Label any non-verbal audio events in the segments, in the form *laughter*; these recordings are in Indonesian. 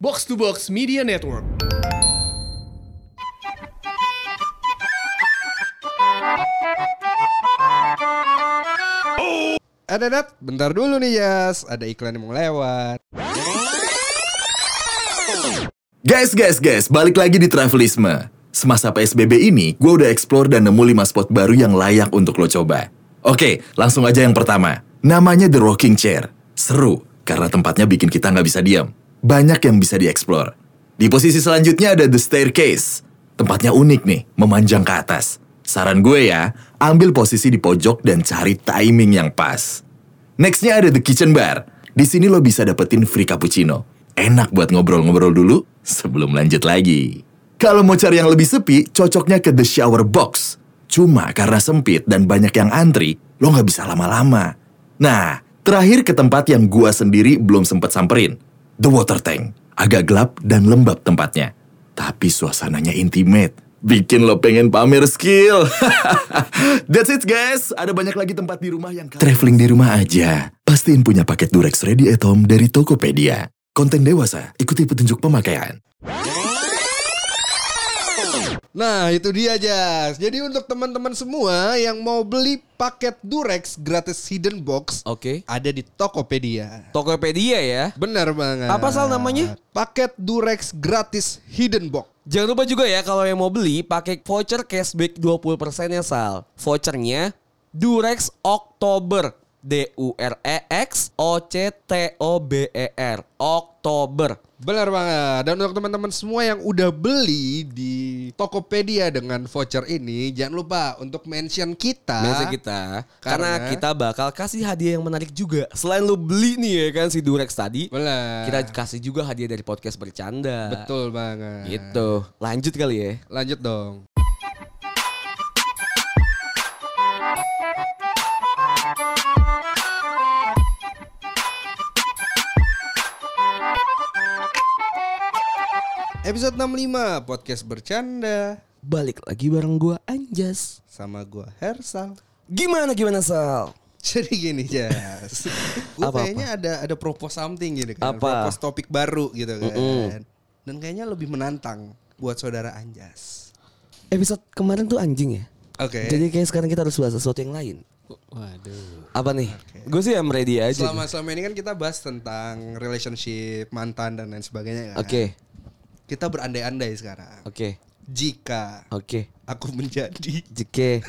Box to Box Media Network. Ada dat, bentar dulu nih Yas, ada iklan yang mau lewat. Guys, guys, guys, balik lagi di Travelisme. Semasa PSBB ini, gue udah explore dan nemu 5 spot baru yang layak untuk lo coba. Oke, langsung aja yang pertama. Namanya The Rocking Chair. Seru, karena tempatnya bikin kita nggak bisa diam. Banyak yang bisa dieksplor. Di posisi selanjutnya ada The Staircase. Tempatnya unik nih, memanjang ke atas. Saran gue ya, ambil posisi di pojok dan cari timing yang pas. Nextnya ada The Kitchen Bar. Di sini lo bisa dapetin free cappuccino. Enak buat ngobrol-ngobrol dulu sebelum lanjut lagi. Kalau mau cari yang lebih sepi, cocoknya ke The Shower Box. Cuma karena sempit dan banyak yang antri, lo nggak bisa lama-lama. Nah, terakhir ke tempat yang gua sendiri belum sempat samperin. The Water Tank. Agak gelap dan lembab tempatnya. Tapi suasananya intimate. Bikin lo pengen pamer skill. *laughs* That's it guys. Ada banyak lagi tempat di rumah yang... Traveling di rumah aja. Pastiin punya paket Durex Ready at Home dari Tokopedia. Konten dewasa, ikuti petunjuk pemakaian. Nah itu dia Jas. Jadi untuk teman-teman semua yang mau beli paket Durex gratis hidden box Oke. ada di Tokopedia. Tokopedia ya. Benar banget. Apa, Sal, namanya? Paket Durex gratis hidden box. Jangan lupa juga ya kalau yang mau beli pakai voucher cashback 20% ya Sal. Vouchernya Durex Oktober. D U R E X O C T O B E R. Oktober. Benar banget. Dan untuk teman-teman semua yang udah beli di Tokopedia dengan voucher ini, jangan lupa untuk mention kita. Biasa kita karena, Ah, Karena- kita bakal kasih hadiah yang menarik juga. Selain lu beli nih ya kan si Durex tadi, Benar. kita kasih juga hadiah dari podcast bercanda. Betul banget. Gitu. Lanjut kali ya. Lanjut dong. Episode 65 podcast bercanda Balik lagi bareng gua Anjas. sama gua Hersal. *laughs* Gimana gimana Sal? Jadi gini Jas Gue *laughs* Apa-apa? kayaknya ada ada propose something gitu kan Apa? Propose topik baru gitu kan Dan kayaknya lebih menantang Buat saudara Anjas Episode kemarin tuh anjing ya. Oke Jadi kayak sekarang kita harus bahas sesuatu yang lain. Waduh. Apa nih? Gue sih I'm ready aja. Selama selama ini kan kita bahas tentang relationship mantan dan lain sebagainya kan. Oke, Kita berandai-andai sekarang. oke, Jika oke. aku *laughs* menjadi *laughs* Jike.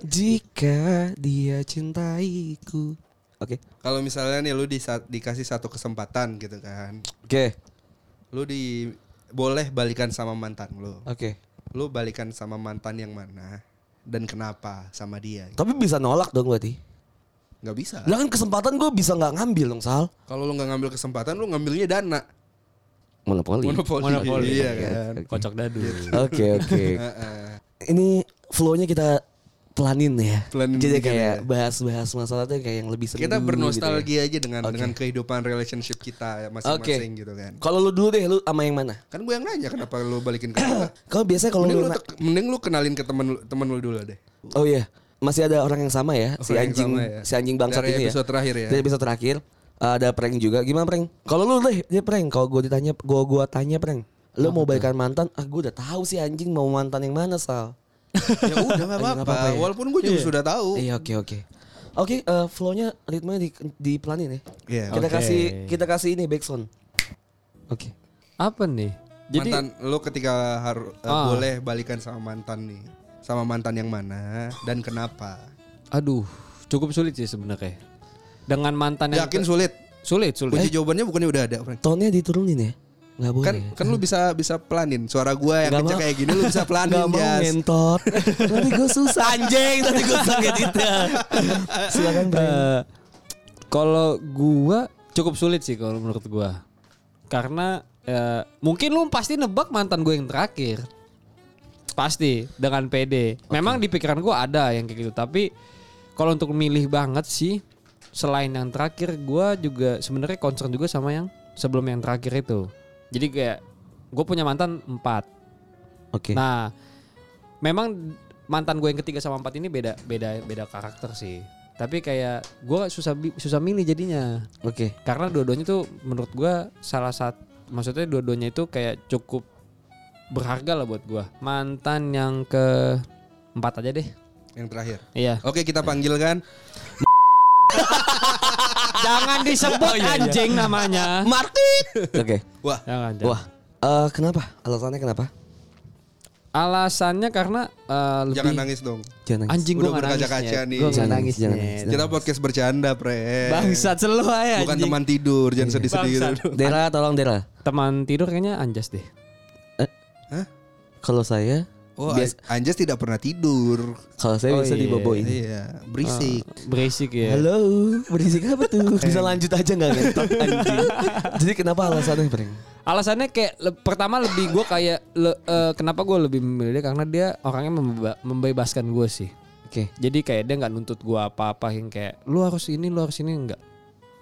Jika dia cintaiku. Oke, kalau misalnya nih lu disa- dikasih satu kesempatan gitu kan. oke, Lu di boleh balikan sama mantan lu. oke. Lu balikan sama mantan yang mana dan kenapa sama dia? Tapi bisa nolak dong berarti. Gak bisa. Lah kan kesempatan gue bisa nggak ngambil dong Sal. Kalau lu nggak ngambil kesempatan lu ngambilnya dana. Monopoli. Monopoli. Monopoli. Iya kan. Kocok dadu. *laughs* Oke *laughs* oke. Ini flow-nya kita pelanin ya. Pelanin Jadi dikit kayak ya. bahas-bahas masalah tuh kayak yang lebih seru. Kita gitu ya. bernostalgia aja dengan Oke. dengan kehidupan relationship kita Oke. masing-masing gitu kan. Kalau lu dulu deh, lu sama yang mana? Kan gue yang nanya kenapa lu balikin *coughs* ke gue. Kalau biasanya kalau Mending lu, lu, na- te- mending lu kenalin ke temen, lu- temen lu dulu deh. Oh iya, masih ada orang yang sama ya, si Orang yang anjing sama ya. si anjing bangsat Dari ini ya. episode terakhir ya. Dari episode terakhir ada prank juga. Gimana prank? Kalau lu deh, dia prank. Kalau gua ditanya, gua gua tanya prank. Lu mau balikan mantan? Ah, gua udah tahu sih anjing mau mantan yang mana, Sal. *laughs* ya udah gak Ayo, apa-apa. nggak apa-apa ya. Walaupun gue juga sudah tahu. Iya, oke oke. Oke, eh, flow-nya ritmenya di di pelanin ya. Iya. kita oke. kasih kita kasih ini backsound. Oke. Apa nih? Jadi mantan lu ketika harus Ah. boleh balikan sama mantan nih. Sama mantan yang mana dan kenapa? aduh, cukup sulit sih sebenarnya. Dengan Nah, mantan yang Yakin sulit. Eh? sulit, sulit. Kunci Eh, jawabannya bukannya udah ada, Frank. Tone-nya diturunin ya. Enggak boleh. Kan kan lu bisa bisa pelanin suara gue yang Nggak kenceng mau. kayak gini lu *laughs* bisa Gak pelanin mau Jas. ngentot Nanti gue susah Anjing Nanti gue susah gitu. Silakan Bang. Eh, kalau gua cukup sulit sih kalau menurut gua. Karena eh, mungkin lu pasti nebak mantan gue yang terakhir. Pasti dengan PD. Memang di pikiran gua ada yang kayak gitu, tapi kalau untuk milih banget sih selain yang terakhir gua juga sebenarnya concern juga sama yang sebelum yang terakhir itu. Jadi kayak gue punya mantan 4. Oke Nah, memang mantan gue yang ketiga sama empat ini beda beda beda karakter sih. Tapi kayak gue susah bi- susah milih jadinya Oke karena dua-duanya tuh menurut gue salah satu maksudnya dua-duanya itu kayak cukup berharga lah buat gua. Mantan yang ke empat aja deh. yang terakhir. Eh. Iya. Oke, kita kan? panggilkan *laughs* Jangan Oh, iya, disebut anjing namanya. Martin. Oke. Wah, Jangan, jangan. Wah. Eh kenapa? Alasannya kenapa? Alasannya karena eh, lebih jangan nangis dong. Jangan nangis. anjing gua Udah nggak nangis. berkaca-kaca Nyet. nih. Gua nggak Jangan nangis. nangis, jangan Nyet. Eh, nangis. Kita podcast bercanda, Pre. Bangsat selalu aja Bukan anjing. teman tidur, Iya. jangan sedih-sedih Bangsat. gitu. Dera tolong Dera. Teman tidur kayaknya anjas deh. Hah? Kalau saya Oh, bias- Anjas tidak pernah tidur. kalau saya Oh bisa iya. diboboin. Iya, berisik. Berisik ya. Halo, berisik apa tuh? *laughs* Bisa lanjut aja nggak ngentot anjing? Jadi kenapa alasannya, Bang? Alasannya kayak le- pertama lebih gue kayak le- eh, kenapa gue lebih memilih dia karena dia orangnya membeba- membebaskan gue sih. Oke. Jadi kayak dia nggak nuntut gue apa-apa yang kayak lu harus ini, lu harus ini enggak.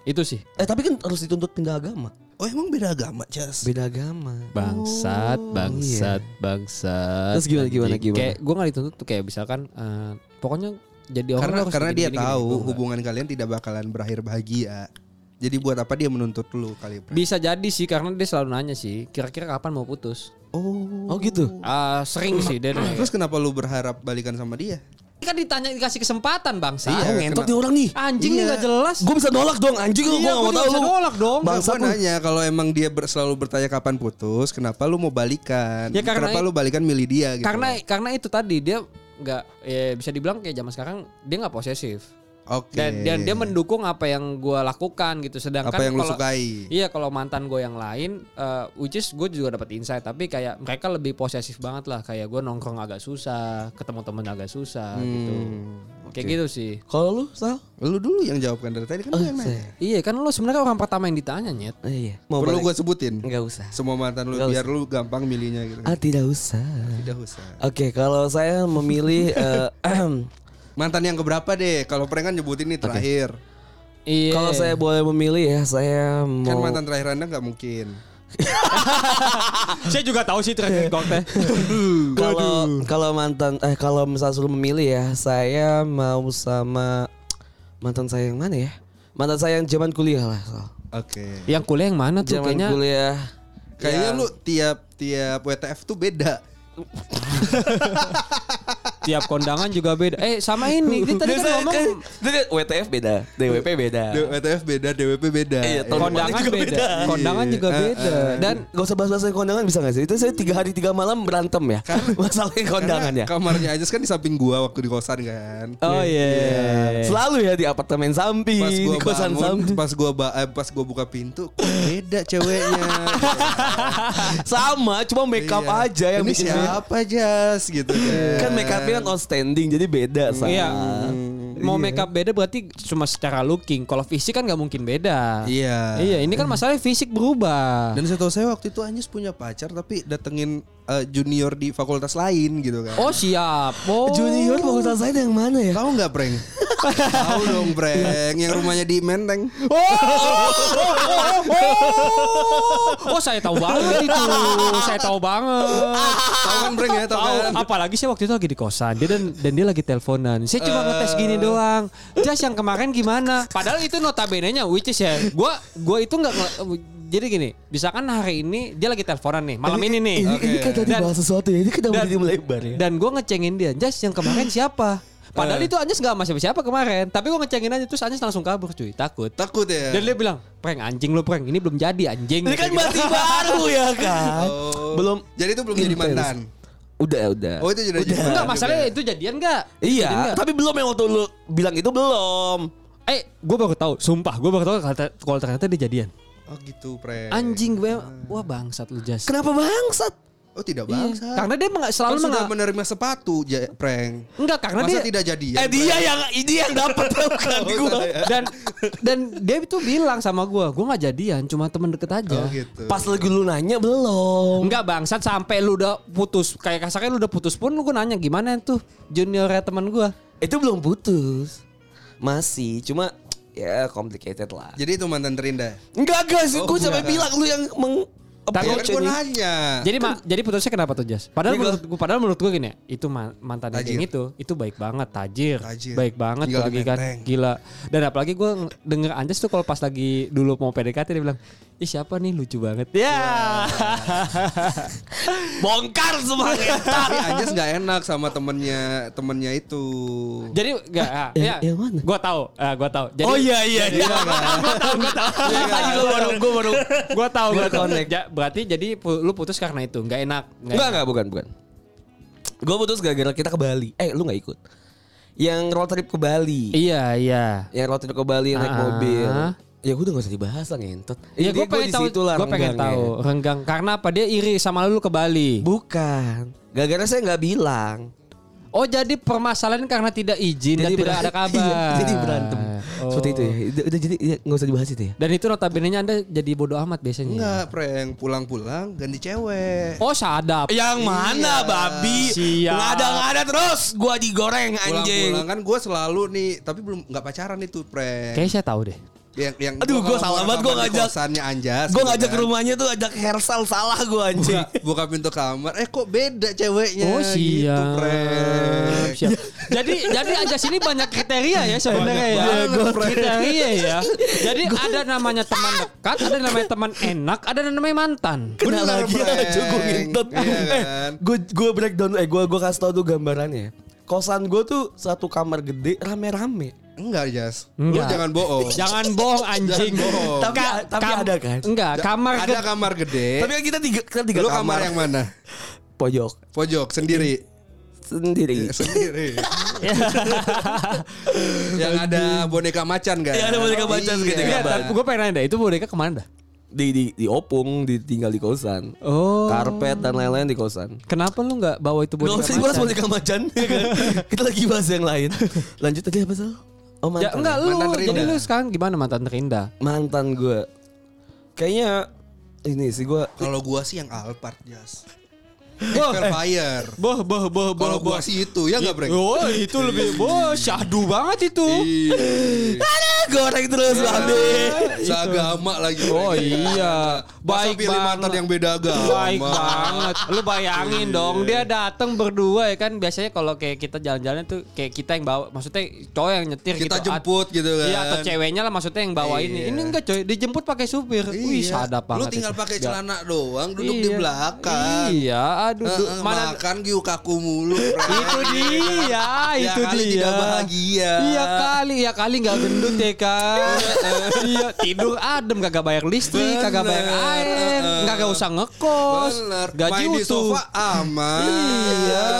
Itu sih Eh tapi kan harus dituntut pindah agama. Oh, emang beda agama, Jas? Beda agama. bangsat, bangsat, bangsat. Terus gimana, gimana, anjing. gimana? Kayak gue nggak dituntut tuh kayak misalkan eh, pokoknya jadi orang Karena lu harus karena gini, dia gini, gini. tahu Gua nggak. hubungan kalian tidak bakalan berakhir bahagia. Jadi buat apa dia menuntut lu kali, Pre? Bisa jadi sih karena dia selalu nanya sih kira-kira kapan mau putus. Oh. Oh gitu. Ah, sering sih dia. nanya. Terus kenapa lu berharap balikan sama dia? Kan ditanya dikasih kesempatan bangsa. Iya, Ah, ngentot kena- nih orang nih. Anjing Iya. nih nggak jelas. Gue bisa nolak dong anjing lu, gue gak Iya, mau gua tahu bisa lu. nolak dong. Bang, Bangsa nanya kalau emang dia ber- selalu bertanya kapan putus, kenapa lu mau balikan? Ya, karena- kenapa lu balikan milih dia gitu? karena karena itu tadi dia nggak ya bisa dibilang kayak zaman sekarang dia nggak posesif Oke. dan dan dia mendukung apa yang gua lakukan gitu sedangkan apa yang lu kalau- sukai? Iya kalau mantan gue yang lain, eh, which is gue juga dapat insight, tapi kayak mereka lebih posesif banget lah, kayak gue nongkrong agak susah, ketemu temen agak susah gitu, kayak gitu sih. Kalau lu, Sal? Lu dulu yang jawabkan dari tadi kan lu yang nanya. Iya kan lo sebenarnya orang pertama yang ditanya nyet. Eh, Iya. Mau Perlu gue balik? sebutin Nggak usah. semua mantan lu Nggak biar lu gampang milihnya gitu. Ah tidak usah. Tidak usah. Oke, kalau saya memilih eh, *clears throat* Mantan yang keberapa deh? Kalau prank kan nyebutin nih terakhir. Iya. kalau saya boleh memilih ya, saya Kan mau mantan terakhir anda nggak mungkin. Ah, saya juga tahu sih *laughs* terakhir konten. kalau kalau mantan eh kalau misal suruh memilih ya, saya mau sama mantan saya yang mana ya? Mantan saya yang zaman kuliah lah, Sal. Oke. yang kuliah yang mana tuh Zaman kayaknya? kuliah. Ya. Kayaknya Iya. lu tiap tiap WTF tuh beda. Tiap kondangan juga beda. Eh sama ini kita tadi kan ngomong WTF beda, DWP beda. D- WTF beda, DWP beda. Iya, Eh, tahun kondangan juga beda. beda. kondangan juga beda. Dan Dan gak usah bahas-bahas yang kondangan bisa gak sih? Itu saya tiga hari tiga malam berantem ya. Kan- Masalah yang kondangan ya. karena Kamarnya aja kan di samping gua waktu di kosan kan. oh iya. Selalu ya di apartemen samping, Pas di gua kosan bangun, samping. pas gua ba- eh, pas gua buka pintu, kok beda *laughs* ceweknya. Sama, cuma make up Iya. aja yang Ini bikin beda. siapa Jas gitu kan. Kan make upnya kan outstanding, jadi beda sama. Iya. Mau make up beda berarti cuma secara looking. Kalau fisik kan nggak mungkin beda. Iya. Iya, ini kan masalahnya fisik berubah. Dan saya tahu saya waktu itu Anjas punya pacar tapi datengin eh, junior di fakultas lain gitu kan. Oh siap. Oh. Junior fakultas saya yang mana ya? Tahu nggak *laughs* prank? Tahu dong prank yang rumahnya di Menteng. Oh, oh, oh, oh, oh. Oh, saya tahu banget itu. Saya tahu banget. Tahu kan prank ya? Tahu Tahu. kan? Apalagi saya waktu itu lagi di kosan. Dia dan dan dia lagi teleponan. Saya cuma ngetes gini doang. Jas yang kemarin gimana? Eh. Padahal itu notabene-nya which is ya. Gua gua itu nggak ngel- jadi gini, misalkan hari ini dia lagi teleponan nih, malam ini nih. Ini, ini kan tadi Dan- bahas sesuatu ya, ini kita udah dan- jadi melebar ya. Dan gue ngecengin dia, Jas yang kemarin siapa? Padahal itu Anjas gak sama siapa-siapa kemarin. Tapi gue ngecengin aja, terus Anjas langsung kabur cuy, takut. Takut ya. Dan dia bilang, prank anjing lo prank, ini belum jadi anjing. ini kan Gitu. masih baru ya kan? Oh. Belum. Jadi itu belum jadi Intens. mantan. Udah, udah. Oh itu jadi Enggak, masalahnya itu jadian gak? Jadian Iya, nggak? tapi belum yang waktu lu bilang itu belum. Eh, gue baru tahu, sumpah gue baru tahu kalau ter- kalau ternyata dia jadian. Oh gitu prank. Anjing gue, wah bangsat lu Jas. Kenapa bangsat? Oh tidak Iya. bangsa. Karena dia menga- Kan selalu sudah menga- menerima sepatu ja, prank. Enggak, karena Masa dia tidak Oh, iya. jadi eh dia yang Oh, ini yang dapat *laughs* bukan gua. dan dan dia itu bilang sama gue, gue nggak jadian, cuma temen deket aja. Oh gitu. Pas lagi lu nanya belum. Enggak bangsat sampai lu udah putus. Kayak kasarnya lu udah putus pun lu gua nanya gimana tuh juniornya teman gua. Itu belum putus. Masih, cuma ya complicated lah. Jadi itu mantan terindah. Enggak guys, Oh, gua enggak. sampai bilang lu yang meng Ya Takut kan gue nanya. Jadi ma- jadi putusnya kenapa tuh Jas? Padahal Legal. menurut gua padahal menurut gua gini ya, itu ma- mantan Tajir. yang itu itu baik banget tajir, Tajir. baik banget Tinggal kalau di lagi kan Menteng. gila. Dan apalagi gua ng- denger Anjas tuh kalau pas lagi dulu mau PDKT dia bilang, "Ih, siapa nih lucu banget." Ya. *laughs* Bongkar semuanya. Tapi Anjas nggak enak sama temennya temennya itu. jadi enggak yang ya, Eh, mana? gua tahu, eh, gua tahu. Jadi *laughs* oh iya iya iya. Tadi gue baru gue baru gua tahu gua tahu. Connect. Ja- berarti jadi pu- lu putus karena itu, enggak enak. nggak Enggak enak. enggak bukan bukan. Gue putus gara-gara kita ke Bali. Eh lu nggak ikut. Yang road trip ke Bali. Iya, iya. Yang road trip ke Bali yang naik Ah. mobil. Ya gue udah gak usah dibahas lah ngentot. Ya Intinya gue pengen di tahu, situ lah gue pengen renggangnya. tahu renggang. Karena apa dia iri sama lu ke Bali? Bukan. Gara-gara saya nggak bilang. Oh jadi permasalahan karena tidak izin dan tidak beran- ada kabar. *laughs* Iya, jadi berantem. Oh. Seperti itu ya. Udah, udah jadi ya, nggak usah dibahas itu ya. Dan itu notabene anda jadi bodoh amat biasanya. ya? Enggak, prank pulang-pulang ganti cewek. Oh sadap. Yang mana babi? Siap. Ngada-ngada terus gua digoreng anjing. Pulang-pulang kan gue selalu nih, tapi belum nggak pacaran itu prank. Kayaknya saya tahu deh. Yang, yang Aduh, gua kalau gua salah mau banget, gua rekaman di ngajak- kosannya Anjas. Gue gitu ngajak kan. ke rumahnya tuh ajak hersal salah gua anjing. Buka, Iya, buka pintu kamar, eh kok beda Iya, ceweknya Oh gitu siap. prank. siap. jadi jadi aja sini banyak kriteria ya sebenarnya ya. Banyak banget, Frank. kriteria ya. Jadi ada namanya teman dekat, ada namanya teman enak, ada namanya mantan. Bener, Bener lagi Frank. aja gue ngintet. Iya kan? Gue gue breakdown eh gue gue kasih tau tuh gambarannya. Kosan gue tuh satu kamar gede rame-rame. Enggak, Jas. Lu Enggak. jangan bohong. Jangan bohong Jangan anjing. bohong. Tapi- tapi ada kan? Enggak, kamar Ada *laughs* kamar gede. Tapi kan kita tiga kita tiga Lu kamar. kamar yang mana? pojok Pojok *laughs* sendiri. sendiri. sendiri. yang ada boneka macan kan? Iya, Yang ada boneka macan seketika. Enggak, tapi gue pengen nanya deh, itu boneka kemana dah? Di di di opung ditinggal di kosan. Oh. Karpet dan lain-lain di kosan. Kenapa lu nggak bawa itu Gak boneka usah dibahas macan? boneka macan ya *laughs* kan? Kita lagi bahas yang lain Lanjut tadi apa sih? Oh Ya mantan enggak lu, Mantan terindah. jadi lu sekarang gimana mantan terindah? Mantan gue Kayaknya Ini sih gue Kalau gua sih yang Alphard, Jas. Boh, Fire. boh, boh, boh, Kalau gua sih itu ya enggak, Breng? Oh itu *laughs* lebih, boh syahdu banget itu. Iya. *laughs* Goreng terus babe Eh, Seagama lagi. Breng. Oh iya, Masa baik pilih mantan banget. yang beda agama. Iya. Baik banget. Lu bayangin dong, dia datang berdua ya kan. Biasanya kalau kayak kita jalan-jalan tuh kayak kita yang bawa, maksudnya cowok yang nyetir Kita gitu. jemput gitu kan. Iya atau ceweknya lah maksudnya yang bawa ini. Iya. Ini enggak coy, dijemput pakai supir. Wih, Iya. sadap Lu banget. tinggal itu. pakai Enggak. celana doang, duduk di Iya. belakang. Iya, aduh, Eh, du- eh, mana makan giu kaku mulu. *laughs* Breng. itu dia, Ya itu kali dia. tidak bahagia. Iya kali, iya kali nggak gendut ya *laughs* kan. iya tidur adem, kagak bayar listrik, kagak bayar Bener, air, eh, eh. nggak usah ngekos, Bener. gaji Main di utuh. sofa aman. Iya,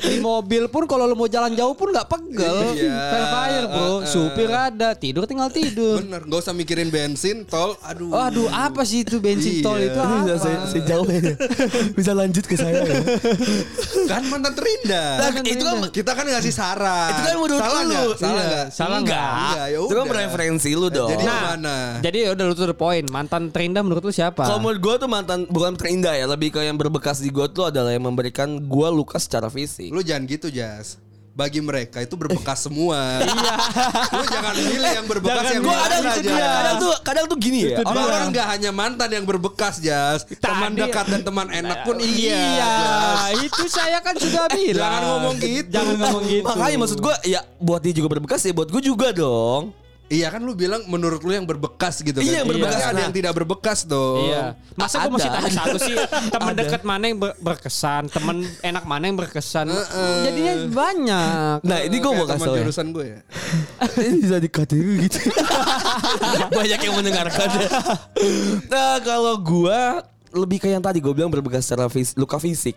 di mobil pun kalau lu mau jalan jauh pun nggak pegel. Iya. Fair Eh, bro, eh. supir ada, tidur tinggal tidur. Bener, gak usah mikirin bensin, tol. Aduh. Oh, aduh, apa sih itu bensin Iya. tol itu Ini apa? Sejauh aja *laughs* Bisa lanjut ke saya ya Kan mantan terindah. Lah, itu kan- kita kan ngasih saran. Itu kan menurut salah lu. nggak? Salah Iya. nggak? Salah Enggak, ya Itu kan udah. preferensi lu dong Jadi Nah, mana? jadi udah lu tuh the point. Mantan terindah menurut lu siapa? Kalau menurut gue tuh mantan bukan terindah ya, lebih ke yang berbekas di gue tuh adalah yang memberikan gue luka secara fisik. Lu jangan gitu, Jas. Bagi mereka itu berbekas semua. Iya. lu jangan pilih yang berbekas Jangan, yang Gue mana, ada iya. Jas. kadang tuh kadang tuh gini ya. orang- Orang-orang nggak hanya mantan yang berbekas, Jas. Teman Tadi- dekat dan teman enak pun iya. Iya, Jas. itu saya kan Eh, sudah bilang. Jangan ngomong gitu. Jangan ngomong gitu. Makanya maksud gue ya buat dia juga berbekas ya buat gue juga dong. Iya kan lu bilang menurut lu yang berbekas gitu kan. Iya, yang berbekas. Pasti ada Nah. yang tidak berbekas tuh. Iya. Masa gue Ada. masih tanya satu sih Temen dekat mana yang ber- berkesan Temen enak mana yang berkesan Jadinya banyak Nah ini gue mau Kayak kasih teman tau ya. jurusan gue ya. *laughs* Ini bisa dikatain gitu. Banyak yang mendengarkan. nah kalau gue lebih ke yang tadi gue bilang berbekas secara fis- luka fisik.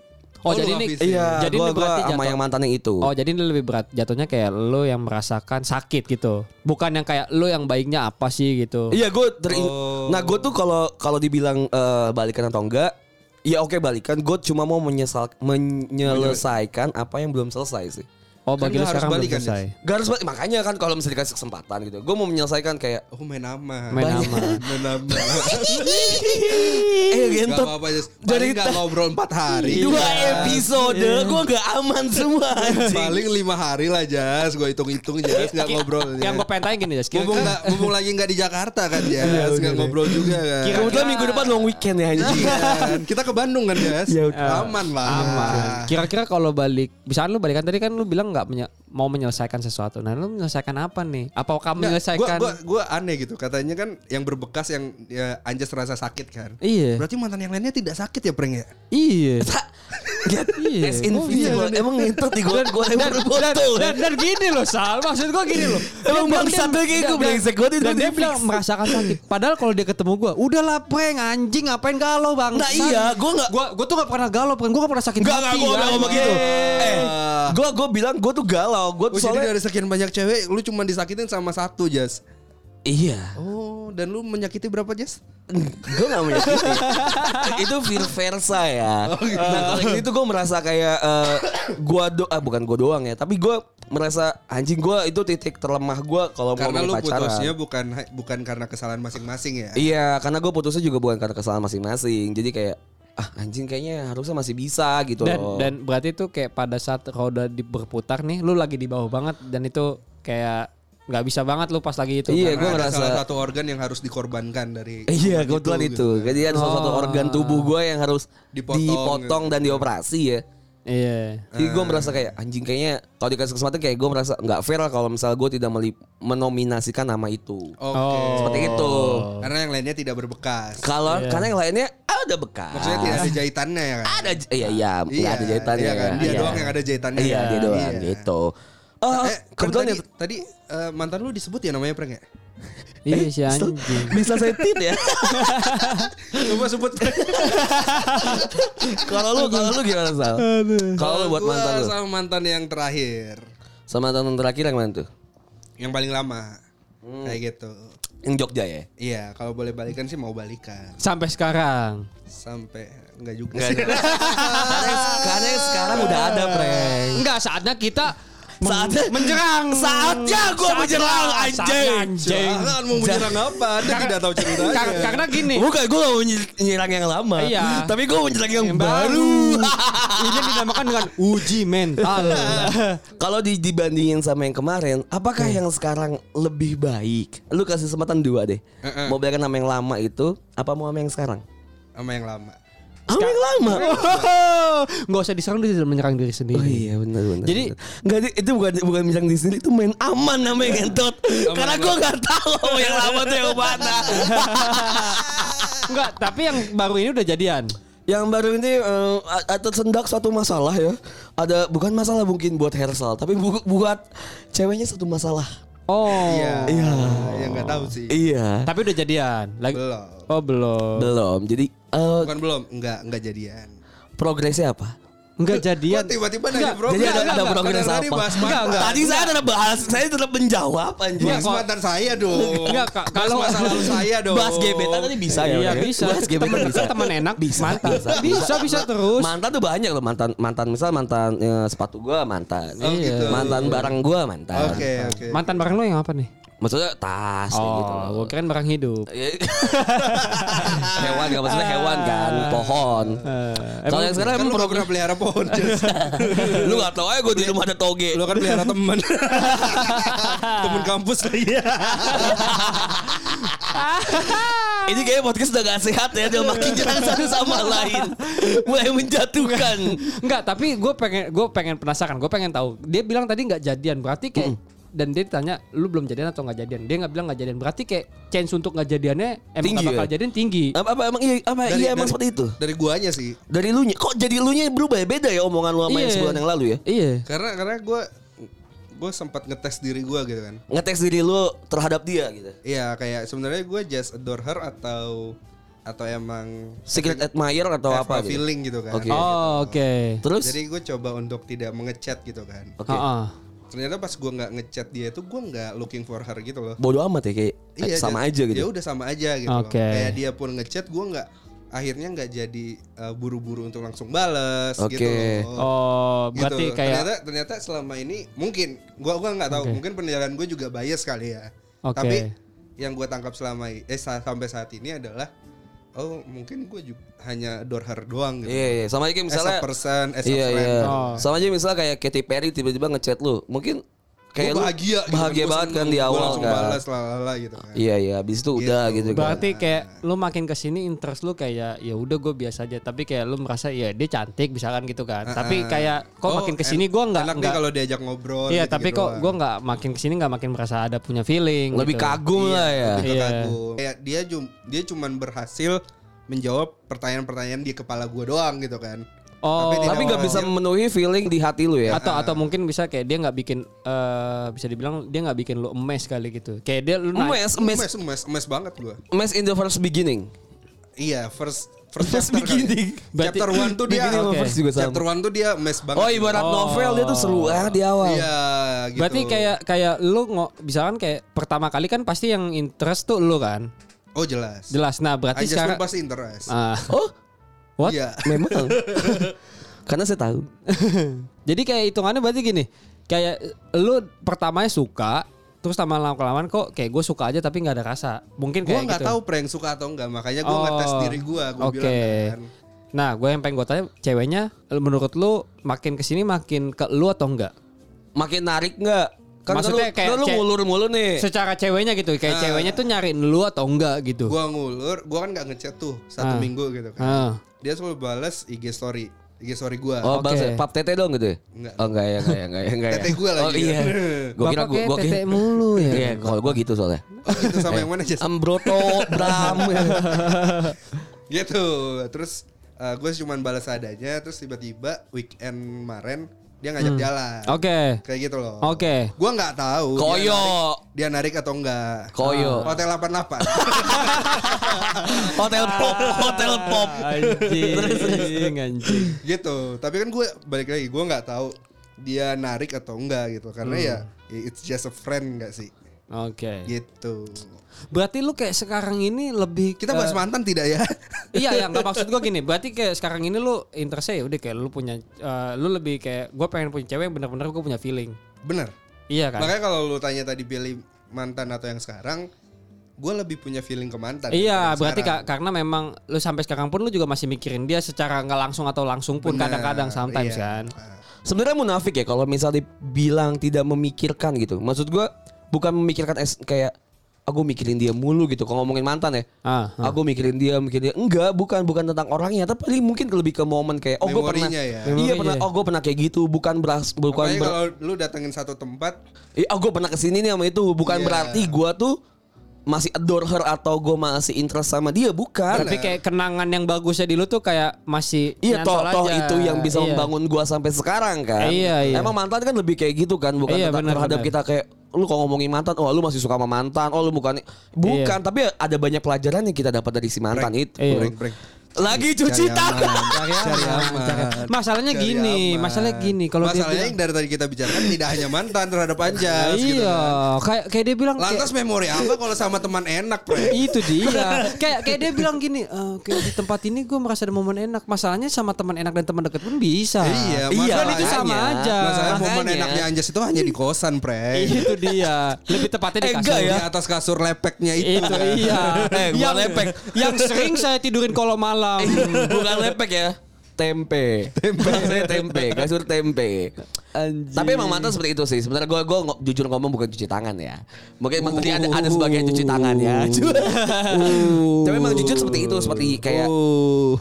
Oh, Oh, jadi lu ini habisin. Iya, Jadi gue ini berarti sama jatuh- yang mantan yang itu. Oh jadi ini lebih berat Jatuhnya kayak lo yang merasakan sakit gitu Bukan yang kayak lo yang baiknya apa sih gitu Iya gue terin. Oh. Nah gue tuh kalau kalau dibilang eh, balikan atau enggak, ya oke balikan. Gue cuma mau menyesal menyelesaikan apa yang belum selesai sih. Oh, Kan bagi dia lu harus sekarang belum balik kan, selesai. Gak harus balik. makanya kan kalau misalnya dikasih kesempatan gitu. Gue mau menyelesaikan kayak Aku Oh, main aman. Main aman. *laughs* main aman. Iya, eh Gak gentot. apa-apa Iya. Jess. Dari Paling gak ta- ngobrol 4 hari. Dua Jas. episode gue gak aman semua. anjing. Paling 5 hari lah Jas. Gue hitung-hitung Jas. Gak ngobrol. Yang gue pengen tanya gini Jas. Mumpung, Kira-kira gak, mumpung lagi gak di Jakarta kan Iya, Jas. Gak ngobrol juga kan. Kebetulan minggu depan long weekend ya anjing. Iya kan? Kita ke Bandung kan Jas. Ya Aman lah. kira-kira kalau balik, misalnya lu balikan tadi kan lu bilang nggak menye- mau menyelesaikan sesuatu. Nah, lu menyelesaikan apa nih? Apa kamu menyelesaikan? Gue gua aneh gitu katanya kan yang berbekas yang ya, Anjas rasa sakit kan. Iya. Berarti mantan yang lainnya tidak sakit ya Preng ya? *laughs* Iya. Get Iya. as invisible. Emang ngentot di gue gue dan, lempar botol. ya. dan, dan gini loh Sal Maksud gue gini loh *laughs* Emang Dia bilang- bangsat dia- lo kayak gue, dan- brengsek banget itu Dan dia di-fix. bilang merasakan sakit Padahal kalau dia ketemu gue Udahlah peng anjing ngapain galau bang Nah, iya, gua nggak- Gue tuh gak pernah galau peng Gue gak pernah sakit Enggak enggak hati, gue kan? nggak ngomong gitu. Yeay. Eh gue gue bilang gue tuh galau. Gue Oh, tuh jadi soalnya dari sekian banyak cewek lu cuma disakitin sama satu Jas. iya. Oh, dan lu menyakiti berapa Jas? gue gak menyakiti *laughs* itu feel versa ya nah kalau ini tuh gue merasa kayak eh, gua gue do ah, bukan gue doang ya tapi gue merasa anjing gue itu titik terlemah gue kalau Karena ngomongin lu iya. pacaran putusnya bukan bukan karena kesalahan masing-masing ya. iya karena gue putusnya juga bukan karena kesalahan masing-masing jadi kayak ah anjing kayaknya harusnya masih bisa gitu dan, loh dan berarti tuh kayak pada saat roda di berputar nih Lu lagi di bawah banget Dan itu kayak Gak bisa banget lu pas lagi itu Karena Iya, kan? gua ada ngerasa- salah satu organ yang harus dikorbankan dari Iya korban kebetulan gitu, itu, kan. Jadi ada salah satu Oh. organ tubuh gue yang harus Dipotong, gitu. dipotong, dan dioperasi ya Iya Jadi gue merasa kayak anjing kayaknya kalau dikasih kesempatan kayak gue merasa nggak fair lah kalau misal gue tidak meli- menominasikan nama itu. Oke. Seperti Oh. itu. Karena yang lainnya tidak berbekas. Kalau Iya. karena yang lainnya ada bekas. Maksudnya tidak ada jahitannya ya kan? ada j- iya iya, nggak ada jahitannya. iya kan? Dia Iya. doang yang ada jahitannya. Iya, dia doang Iya. gitu. Oh, Eh, kebetulan kebetulan tadi, ya, tadi eh, mantan lu disebut ya namanya Preng ya? Eh, Iya si anjing bisa saya tit *laughs* ya. Coba *laughs* sebut kalau lu kalau lu gimana Sal? Kalau lu buat Gua mantan lu. sama mantan yang terakhir. Sama mantan terakhir yang mana tuh? Yang paling lama. Hmm. Kayak gitu. Yang Jogja ya. Iya, kalau boleh balikan sih mau balikan. Sampai sekarang Sampai enggak juga Nggak sih. ada. *laughs* Ah. karena, karena yang sekarang udah ada, Prank. Enggak saatnya kita meng- Saatnya menjerang. Saatnya gua Saatnya- menjerang, anjing. saatnya anjing. Jangan kan mau menyerang apa? Dia tidak tahu ceritanya. Kar- karena gini. Bukan, gue gak mau nyi- nyerang yang lama. Iya. Tapi gue mau nyerang yang, yang baru. Ini dinamakan dengan uji *laughs* mental. Kalau di- dibandingin sama yang kemarin, apakah yang sekarang lebih baik? Lu kasih kesempatan dua deh. Heeh. Mau belajar sama yang lama itu, apa mau sama yang sekarang? sama yang lama. Sama yang lama. Enggak usah diserang dia tidak menyerang diri Oh sendiri. iya benar benar. Jadi- benar. nggak di- itu bukan bukan bilang di sini itu main aman namanya *laughs* gentot. Karena gue nggak tahu sama Oh, yang lama tuh yang mana. *laughs* Enggak, tapi yang baru ini udah jadian. Yang baru ini eh, a- a- tersendak suatu masalah ya. Ada bukan masalah mungkin buat Hersal, tapi bu- buat ceweknya satu masalah. Oh. Iya. Iya. Ya enggak tahu sih. Iya. Tapi udah jadian. Lagi Belum. Oh, belum. Belum. Jadi eh, Bukan belum, enggak enggak jadian. progresnya apa? Enggak Kok jadian. tiba-tiba nanya bro. Jadi ada, ada enggak, progres kadang-kadang apa? dibahas mantan. Tadi saya ada bahas, saya tetap menjawab anjing. Bahas mantan saya dong. Enggak, Kak. Bahas Kalau- masa lalu saya Iya, dong. *laughs* Bahas gebetan tadi bisa ya. Iya Bang, ya? bisa. Bahas gebetan Temen- bisa. temen enak, bisa. mantan. Bisa, Bisa, bisa terus. Mantan tuh banyak loh mantan mantan misal mantan eh, sepatu gua mantan. Oh, gitu. Mantan barang gua mantan. Oke, oke. Mantan bareng lo yang apa nih? Maksudnya tas kayak gitu loh. Ya, gitu. Oh, gue keren barang hidup. *laughs* hewan gak maksudnya hewan kan pohon Eh, kalau yang sekarang Kan lu emang gak program pernah pelihara pohon. Jess. *laughs* lu gak tau aja gue di rumah ada toge lu kan pelihara *laughs* temen. temen kampus iya. lagi. ini kayaknya podcast udah gak sehat ya udah makin jarang satu sama lain mulai menjatuhkan Enggak, tapi gue pengen gue pengen penasaran, gue pengen tahu. Dia bilang tadi nggak jadian, berarti kayak dan dia ditanya lu belum jadian atau nggak jadian. Dia nggak bilang nggak jadian, berarti kayak chance untuk nggak jadiannya emang Tinggi nggak bakal ya? jadian tinggi. apa, apa emang iya apa Dari- iya emang dari- seperti itu Dari guanya sih. dari lu kok jadi lu nya berubah ya beda ya omongan lu sama yang Iya. sebulan yang lalu ya Iya. Karena karena gue gue sempat ngetes diri gue gitu kan. ngetes diri lu terhadap dia gitu Iya kayak sebenarnya gue just adore her atau atau emang secret admirer atau have a apa gitu feeling gitu kan. Oke. Oh, oke. terus Jadi gue coba untuk tidak mengechat gitu kan. oke Ha-ha. Ternyata pas gue nggak ngechat dia tuh gue nggak looking for her gitu loh. Iya, bodoh amat ya kayak sama Jas. aja gitu Ya udah sama aja gitu. loh. Oke. Kayak dia pun ngechat gue nggak akhirnya nggak jadi eh, buru-buru untuk langsung bales Oke. gitu loh. Oh, Gitu. berarti kayak ternyata ternyata selama ini mungkin gua gua nggak tahu Oke. mungkin penilaian gue juga bias kali ya Oke. tapi yang gue tangkap selama i- eh sa- sampai saat ini adalah oh mungkin gue juga hanya adore her doang gitu Iya, iya. Sama aja kayak misalnya as a person as Iya, a friend iya. Oh. Sama aja misalnya kayak Katy Perry tiba-tiba ngechat lu. Mungkin kayak Gua lu bahagia gitu bahagia gua banget kan seneng, di gua awal langsung kan. balas lalala gitu kan Iya, iya. Habis itu udah gitu kan. berarti kayak lu makin kesini interest lu kayak ya udah gue biasa aja tapi kayak lu merasa ya dia cantik misalkan gitu kan tapi kayak kok Oh, makin kesini en- gue nggak enak nih nggak kalau gitu. diajak ngobrol iya gitu-gitu tapi kok doang. gue nggak makin kesini nggak makin merasa ada punya feeling Lebih gitu. kagum lah ya. Lebih Iya. kekagum. kan, kayak dia cum dia cuman berhasil menjawab pertanyaan-pertanyaan di kepala gue doang gitu kan oh Tapi Tapi nggak bisa memenuhi feeling di hati lu ya. atau atau mungkin bisa kayak dia nggak bikin eh bisa dibilang dia nggak bikin lu emes kali gitu kayak dia lu naik- Mes, mes, mes mes mes banget gue mes in the first beginning. iya first first First chapter kali. beginning. Berarti- chapter one tuh dia Beginning sama Oke. first juga sama. chapter one tuh dia mes banget Oh ibarat novel dia tuh seru banget di awal. iya gitu berarti kayak kayak lu ngo, misalkan kayak pertama kali kan pasti yang interest tuh lu kan oh jelas jelas nah I berarti just sekarang want pasti interest Ah, Oh, what iya *laughs* memang. Karena saya *laughs* tahu. Jadi kayak hitungannya berarti gini, kayak eh, lu pertamanya suka, terus sama lama-kelamaan kok kayak gue suka aja tapi nggak ada rasa. Mungkin gue kayak nggak gitu. Oh, tahu prank suka atau enggak makanya gue ngetes diri gue gue Oke. bilang kan Nah, gue yang pengen gue tanya, ceweknya eh, menurut lu makin kesini makin ke lu atau enggak? Makin narik nggak? Kan lu, Maksudnya kayak kan lu ce- ngulur mulu nih. Secara ceweknya gitu, Ah. kayak ceweknya tuh nyariin lu atau enggak gitu. gue ngulur gue kan nggak ngechat tuh satu Ah. minggu gitu kan Ah. dia selalu balas IG story IG story gue Oh, Oke. bang, pap tete dong gitu. ya? Enggak. Oh, enggak ya, enggak ya, enggak ya, enggak ya. Tete gua lagi. Oh *laughs* iya. Gua kira gua Bapak kayak gua kira. tetek mulu ya. Iya, kalau gua gitu *laughs* soalnya. Oh, itu sama yang mana Jess? Ambroto, *laughs* Bram. gitu terus gue cuman balas adanya terus tiba-tiba weekend kemarin dia ngajak jalan Oke. kayak gitu loh Oke. gue nggak tahu dia Koyo. narik- dia narik, atau enggak Koyo. hotel 88 Hotel pop, Oh, hotel pop. Anjing, anjing. *laughs* gitu tapi kan gue balik lagi gue nggak tahu dia narik atau enggak gitu karena Hmm. ya it's just a friend nggak sih Iya. Oke. gitu Berarti lu kayak sekarang ini lebih kita ke- bahas mantan tidak *laughs* ya iya ya nggak maksud gua gini berarti kayak sekarang ini lu interestnya ya udah kayak lu punya eh, lu lebih kayak gua pengen punya cewek yang benar-benar gua punya feeling bener iya kan makanya kalau lu tanya tadi pilih mantan atau yang sekarang gue lebih punya feeling ke mantan daripada iya yang berarti kan, sekarang. ka- karena memang lu sampai sekarang pun lu juga masih mikirin dia secara nggak langsung atau langsung pun Bener, kadang-kadang iya. sometimes kan Sebenarnya munafik ya kalau misalnya bilang tidak memikirkan gitu. Maksud gua bukan memikirkan es, kayak aku mikirin dia mulu gitu kalau ngomongin mantan ya. ah ah. Aku mikirin dia, mikirin dia. Enggak, bukan bukan tentang orangnya, tapi paling mungkin lebih ke momen kayak oh gua pernah. Memorinya ya. Iya, Memorinya pernah ya. oh gua pernah kayak gitu, bukan beras bukan Makanya ber- kalau lu datengin satu tempat Iya, oh, gue pernah kesini nih sama itu. Bukan Iya. berarti gua tuh masih adore her atau gue masih interest sama dia, bukan. tapi kayak kenangan yang bagusnya di lu tuh kayak masih Iya, toh, nyantol toh aja. itu yang bisa Iya. membangun gua sampai sekarang kan. Iya, iya. Emang mantan kan lebih kayak gitu kan, bukan Iya, tentang- benar, terhadap benar. kita kayak lu kalau ngomongin mantan, oh lu masih suka sama mantan, oh lu bukan, bukan. Tapi ada banyak pelajaran yang kita dapat dari si mantan itu. Iya. break break Lagi cuci Cari tangan. aman, cari aman. masalahnya Cari gini aman. masalahnya gini kalau dia masalahnya bilang- yang dari tadi kita bicarakan tidak hanya mantan terhadap anjas gitu iya kan. kayak kayak dia bilang kayak- Lantas memori apa kalau sama teman enak, Pre? itu dia *laughs* kayak kayak dia bilang gini "Eh, kayak di tempat ini gue merasa ada momen enak masalahnya sama teman enak dan teman dekat pun bisa Iya, kan itu masalahnya- sama makanya- aja Iya, Masalahnya momen Makanya. enaknya Anjas itu hanya di kosan, Pre. itu dia lebih tepatnya di Eh, kasur enggak Di ya? atas kasur lepeknya itu. itu iya *laughs* Eh, gua yang lepek. yang sering saya tidurin kalau *laughs* malam bukan lepek ya. Tempe. Tempe. *laughs* Saya tempe, kasur tempe. Tapi emang mantan seperti itu sih. Sebenarnya gue gua ngo- jujur ngomong bukan cuci tangan ya. Mungkin emang tadi ada ada sebagai cuci tangan ya. Uh. *laughs* Tapi emang jujur seperti itu, seperti kayak Uh.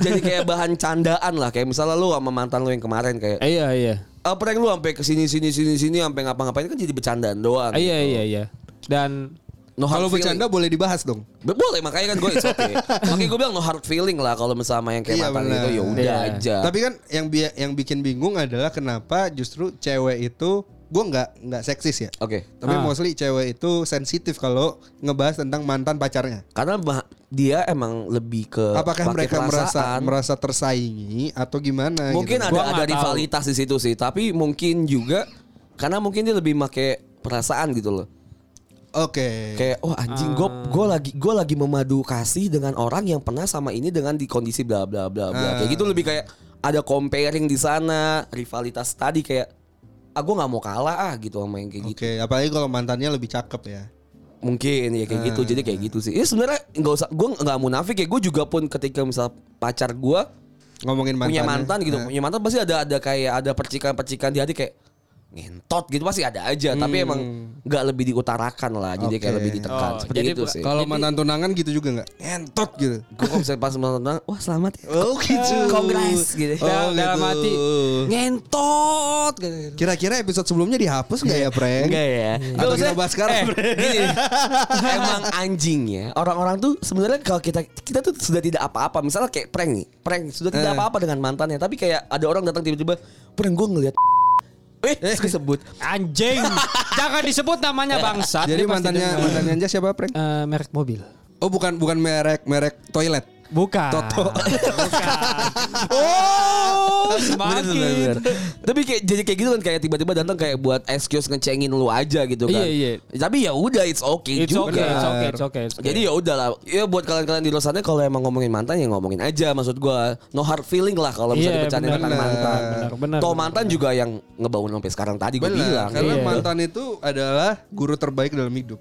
jadi kayak bahan candaan lah. Kayak misalnya lu sama mantan lu yang kemarin kayak iya iya apa yang lu sampai ke sini sini sini sini sampai ngapa-ngapain kan jadi bercandaan doang. iya iya iya dan No hard Kalau feeling. Iya. bercanda boleh dibahas dong. Be- Boleh makanya kan gue it's okay. makanya gue bilang no hard feeling lah kalau misalnya sama yang kayak Iya, mantan benar. itu ya udah Iya. aja. Tapi kan yang bi- yang bikin bingung adalah kenapa justru cewek itu gue nggak nggak seksis ya. Oke. Tapi Ah. mostly cewek itu sensitif kalau ngebahas tentang mantan pacarnya. Karena bah- dia emang lebih ke Apakah Eh, pakai mereka merasa gitu? perasaan. merasa tersaingi atau gimana? gitu. mungkin ada Gua ada nggak rivalitas di situ sih, tapi mungkin juga karena mungkin dia lebih make perasaan gitu loh. Oke. Ah. Kayak oh anjing gue gue lagi gue lagi memadu kasih dengan orang yang pernah sama ini dengan di kondisi bla bla bla bla. Kayak gitu lebih kayak ada comparing di sana, rivalitas tadi kayak ah gue nggak mau kalah ah gitu sama yang kayak gitu. Oke, apalagi kalau mantannya lebih cakep ya. Mungkin ya kayak gitu. Ah. Jadi kayak gitu sih. Ya sebenarnya nggak usah gue nggak munafik ya. Gue juga pun ketika misal pacar gue Ngomongin mantan. punya mantan gitu, Ah. punya mantan pasti ada ada kayak ada percikan-percikan di hati kayak ngentot gitu pasti ada aja tapi emang nggak lebih diutarakan lah jadi kayak Hmm. Oke. lebih ditekan Oh, seperti jadi itu bukan- sih Kalau mantan tunangan gitu juga nggak? Entot *laughs* gitu. gue kok bisa pas nonton wah selamat ya Oh gitu. Congrats, gitu. Oh, Dalam- dalam hati. ngentot gitu. *laughs* Kira-kira episode sebelumnya dihapus nggak ya, Prank? Enggak ya. Atau Nggak, kita maksudnya- bahas sekarang, eh, Bre. gini, *laughs* emang anjing ya. Orang-orang tuh sebenarnya kalau kita kita tuh sudah tidak apa-apa. Misalnya kayak prank nih, prank sudah Eh. tidak apa-apa dengan mantannya, tapi kayak ada orang datang tiba-tiba, "Prank gue ngelihat *laughs* Eh, terus gue sebut. Anjing. Jangan disebut namanya bangsat. Jadi Dia pasti mantannya dendam. mantannya aja siapa, Prank? Eh, merek mobil. Oh bukan bukan merek merek toilet. Bukan. Toto. *laughs* Bukan. oh, Bener, bener, bener. semakin. Tapi kayak jadi kayak gitu kan kayak tiba-tiba datang kayak buat excuse ngecengin lu aja gitu kan. Iya, iya. Tapi ya udah it's okay It's juga. okay, it's okay, it's okay, it's okay. Jadi ya udahlah. Ya buat kalian-kalian di luar sana kalau emang ngomongin mantan ya ngomongin aja. Maksud gua no hard feeling lah kalau misalnya Iya, bercanda benar, tentang benar, mantan. benar, benar, Toh benar, mantan juga yang ngebangun sampai sekarang tadi gua Benar, bilang. karena Iya. mantan itu adalah guru terbaik dalam hidup.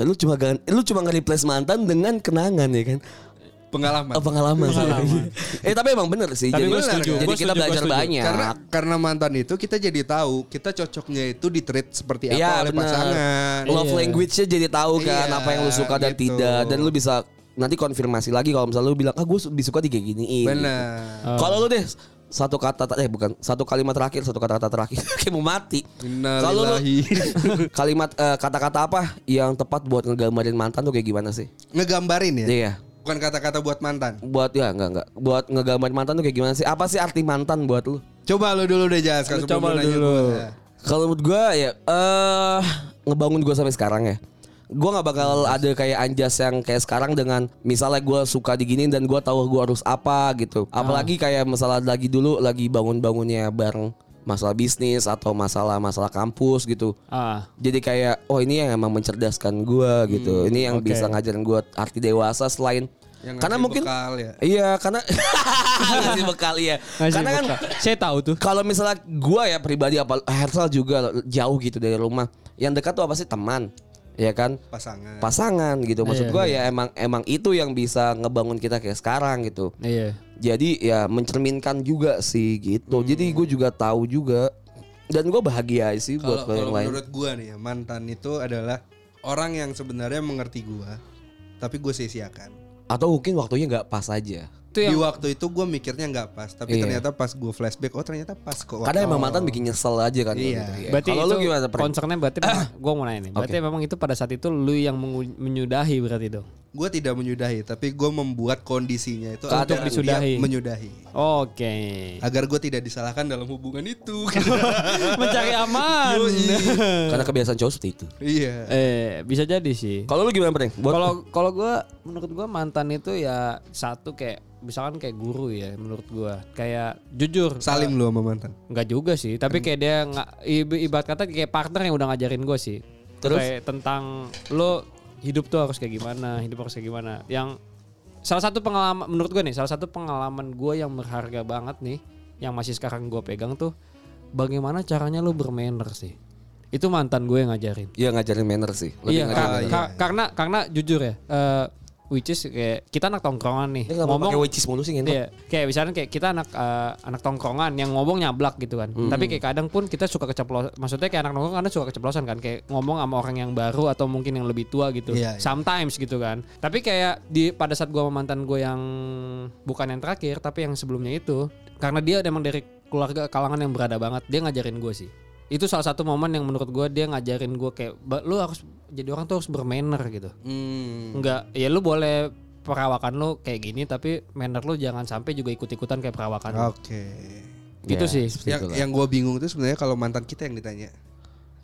Ya, lu cuma gan- lu cuma nge-replace mantan dengan kenangan ya kan. Pengalaman. Eh, pengalaman. *laughs* eh tapi emang bener sih. Tapi jadi gua setuju, jadi gua kita setuju, gua belajar setuju. ya banyak. Karena karena mantan itu kita jadi tahu kita cocoknya itu di treat seperti apa Iya oleh bener. pasangan. Love Iya. language-nya jadi tahu kan Iya, apa yang lu suka dan gitu. tidak dan lu bisa nanti konfirmasi lagi kalau misalnya lu bilang ah gue lebih suka di kayak giniin. Benar. Kalau lu deh satu kata eh bukan satu kalimat terakhir satu kata-kata terakhir *laughs* kayak mau mati. Kalau lu *laughs* Innalillahi. kalimat eh, kata-kata apa yang tepat buat ngegambarin mantan tuh kayak gimana sih? *laughs* Ngegambarin ya. Iya. Bukan kata-kata buat mantan. Buat ya enggak enggak buat ngegambarin mantan tuh kayak gimana sih? Apa sih arti mantan buat lu? Coba lu dulu deh Jas, Lu sebelum coba lu nanya dulu. gua. Kalau menurut gue ya eh ngebangun gue sampai sekarang ya. Gue nggak bakal ada kayak anjas yang kayak sekarang dengan misalnya gue suka diginin dan gue tahu gue harus apa gitu. Apalagi kayak masalah lagi dulu lagi bangun-bangunnya bareng masalah bisnis atau masalah-masalah kampus gitu. Ah. Jadi kayak oh ini yang emang mencerdaskan gue gitu. ini yang oke. bisa ngajarin gue arti dewasa selain Yang karena ngasih mungkin bekal ya. iya karena *laughs* ngasih bekal iya. Ngasih karena kan bekal. saya tahu tuh. kalau misalnya gua ya pribadi apa Hersal juga jauh gitu dari rumah. Yang dekat tuh apa sih teman, ya kan? pasangan. Pasangan gitu. Maksud Iya, gua ya emang emang itu yang bisa ngebangun kita kayak sekarang gitu. Iya. Jadi ya mencerminkan juga sih gitu. Jadi Hmm. gue juga tahu juga dan gua bahagia sih Kalau buat lo kalau yang lain. menurut gua nih ya, mantan itu adalah orang yang sebenarnya mengerti gua, tapi gue sia-siakan. Atau mungkin waktunya nggak pas aja. Itu Di yang waktu itu gue mikirnya nggak pas, tapi Iya. ternyata pas gue flashback, oh ternyata pas kok. Kadang emang mantan bikin nyesel aja kan. Iya. gitu. Iya. berarti Kalau itu lu gimana? Pren? concernnya berarti *coughs* memang- gua mau nanya nih. Berarti memang itu pada saat itu lu yang mengu- menyudahi berarti dong. Gue tidak menyudahi, tapi gue membuat kondisinya itu Untuk agar dia disudahi. menyudahi, *laughs* Oke. agar gue tidak disalahkan dalam hubungan *laughs* itu. Mencari aman. Karena kebiasaan cowok seperti itu. *laughs* iya. eh, bisa jadi sih. Kalau lu gimana, Pren? Buat Kalau kalau gua menurut gua mantan itu ya satu kayak misalkan kayak guru ya menurut gua. Kayak jujur Salim lu sama mantan. Enggak juga sih, tapi Hmm. kayak dia nggak ib- ibarat kata kayak partner yang udah ngajarin gue sih. Terus? Kayak tentang lo hidup tuh harus kayak gimana, hidup harus kayak gimana. Yang salah satu pengalaman menurut gue nih, salah satu pengalaman gue yang berharga banget nih, yang masih sekarang gue pegang tuh bagaimana caranya lo bermanner sih. Itu mantan gue yang ngajarin Iya ngajarin manner sih. Lebih iya, ngajarin ka- manner. ka- karena karena jujur ya, eh, which is kayak kita anak tongkrongan nih. Ini kenapa pakai which is mulu sih, ngentot? Iya, gitu. kayak misalnya kayak kita anak eh, anak tongkrongan yang ngomong nyablak gitu kan. Hmm. Tapi kayak kadang pun kita suka keceplosan. Maksudnya kayak anak tongkrongan kadang suka keceplosan kan kayak ngomong sama orang yang baru atau mungkin yang lebih tua gitu. Iya, iya. Sometimes gitu kan. Tapi kayak di pada saat gua sama mantan gue yang bukan yang terakhir tapi yang sebelumnya itu karena dia emang dari keluarga kalangan yang berada banget, dia ngajarin gue sih itu salah satu momen yang menurut gue dia ngajarin gue kayak "Ba- lu harus jadi orang tuh harus bermanner gitu nggak ya lu boleh perawakan lu kayak gini tapi manner lu jangan sampai juga ikut-ikutan kayak perawakan lu. Oke. gitu Ya, sih seperti Yang itulah. yang gue bingung itu sebenarnya kalau mantan kita yang ditanya.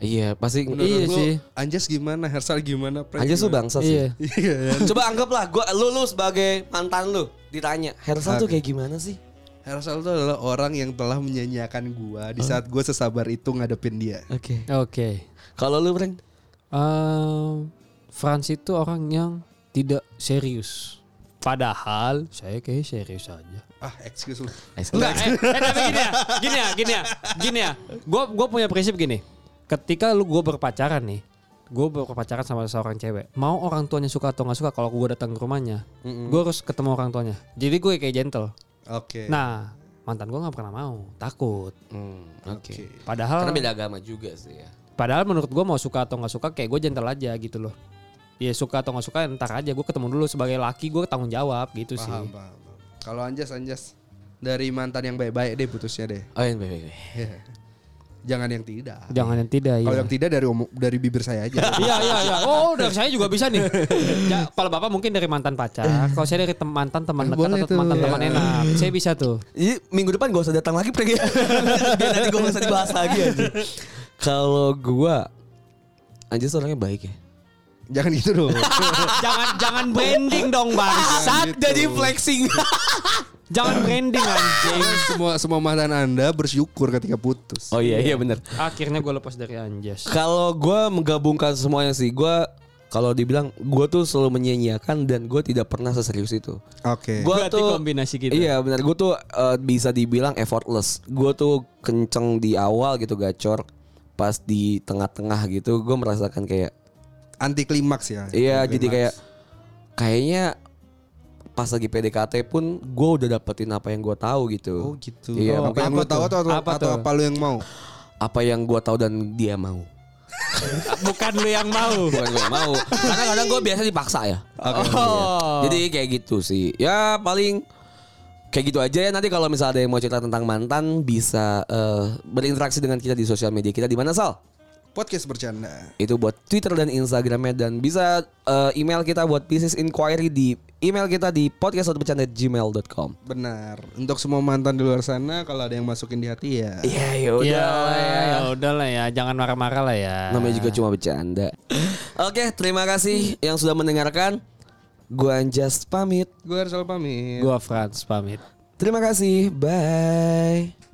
Iya pasti Iya lu, sih. Anjas gimana, Hersal gimana, Pres aja tuh gimana? bangsa sih. iya *laughs* Iya. Coba anggaplah gua lu, lu sebagai mantan lu ditanya, Hersal tuh kayak gimana sih? Hersal itu adalah orang yang telah menyanyiakan gua di saat gua sesabar itu ngadepin dia. Oke. oke Kalau lu, Breng? Ehm, Frans itu orang yang tidak serius. Padahal saya kayak serius aja. Ah, excuse lu. Enggak, eh, eh, tapi gini ya, gini ya, gini ya, gini ya. Gue gua punya prinsip gini. Ketika lu gue berpacaran nih, gue berpacaran sama seorang cewek. Mau orang tuanya suka atau nggak suka, kalau gue datang ke rumahnya, gue harus ketemu orang tuanya. Jadi gue kayak gentle. Oke. Nah, mantan gue nggak pernah mau, takut. Hmm, Oke. Padahal, Karena beda agama juga sih ya. padahal menurut gue mau suka atau nggak suka, kayak gue gentle aja gitu loh. Ya suka atau nggak suka, entar aja gue ketemu dulu sebagai laki gue tanggung jawab gitu Paham, Iya. sih. paham. paham. Kalau Anjas, Anjas dari mantan yang baik-baik deh putusnya deh. *laughs* Oh, iya, baik, baik. Iya. Jangan yang tidak. Jangan yang tidak. Kalau iya. yang tidak dari omo- dari bibir saya *laughs* aja. Iya iya iya. Oh, dari saya juga bisa nih. *laughs* Ya, kalau Bapak mungkin dari mantan pacar, kalau saya dari tem- mantan teman dekat boleh atau tuh. Iya. mantan teman enak. Saya bisa tuh. Jadi minggu depan gak usah datang lagi pergi. *laughs* Biar nanti gue gak usah dibahas lagi aja. Kalau gua Anjir orangnya baik ya. Jangan gitu dong. *laughs* jangan jangan branding dong, bangsat. Gitu. jadi flexing. Jangan branding anjing. semua semua mantan Anda bersyukur ketika putus. oh iya iya bener. Akhirnya gue lepas dari Anjas. Kalau gua menggabungkan semuanya sih gua kalau dibilang gua tuh selalu menyanyiakan dan gua tidak pernah seserius itu. Oke. Gua Berarti kombinasi ya? gitu. Iya benar. Gue tuh eh, bisa dibilang effortless. Gue tuh kenceng di awal gitu gacor. Pas di tengah-tengah gitu, gue merasakan kayak, Anti klimaks ya. iya Anti jadi klimaks. kayak, kayaknya pas lagi PDKT pun gue udah dapetin apa yang gue tahu gitu. Oh gitu. Iya, apa yang apa lu tahu tuh? atau atau Apa apa, atau tuh? apa lu yang mau? Apa yang gue tahu dan dia mau. Bukan lu yang mau. Bukan gue mau. Karena kadang gue biasa dipaksa ya. Oh. Jadi kayak gitu sih. Ya paling kayak gitu aja ya nanti kalau misalnya ada yang mau cerita tentang mantan bisa eh, berinteraksi dengan kita di sosial media kita di mana Sal? Podcast bercanda. itu buat Twitter dan Instagramnya dan bisa eh, email kita buat business inquiry di email kita di podcast.bercanda@gmail.com. Benar. Untuk semua mantan di luar sana kalau ada yang masukin di hati ya. Iya ya Ya, ya udah lah ya, jangan marah-marah lah ya. Namanya juga cuma bercanda. Oke, terima kasih yang sudah mendengarkan. Gua Anjas pamit. Gue harus pamit. Gua Franz pamit. Terima kasih. Bye.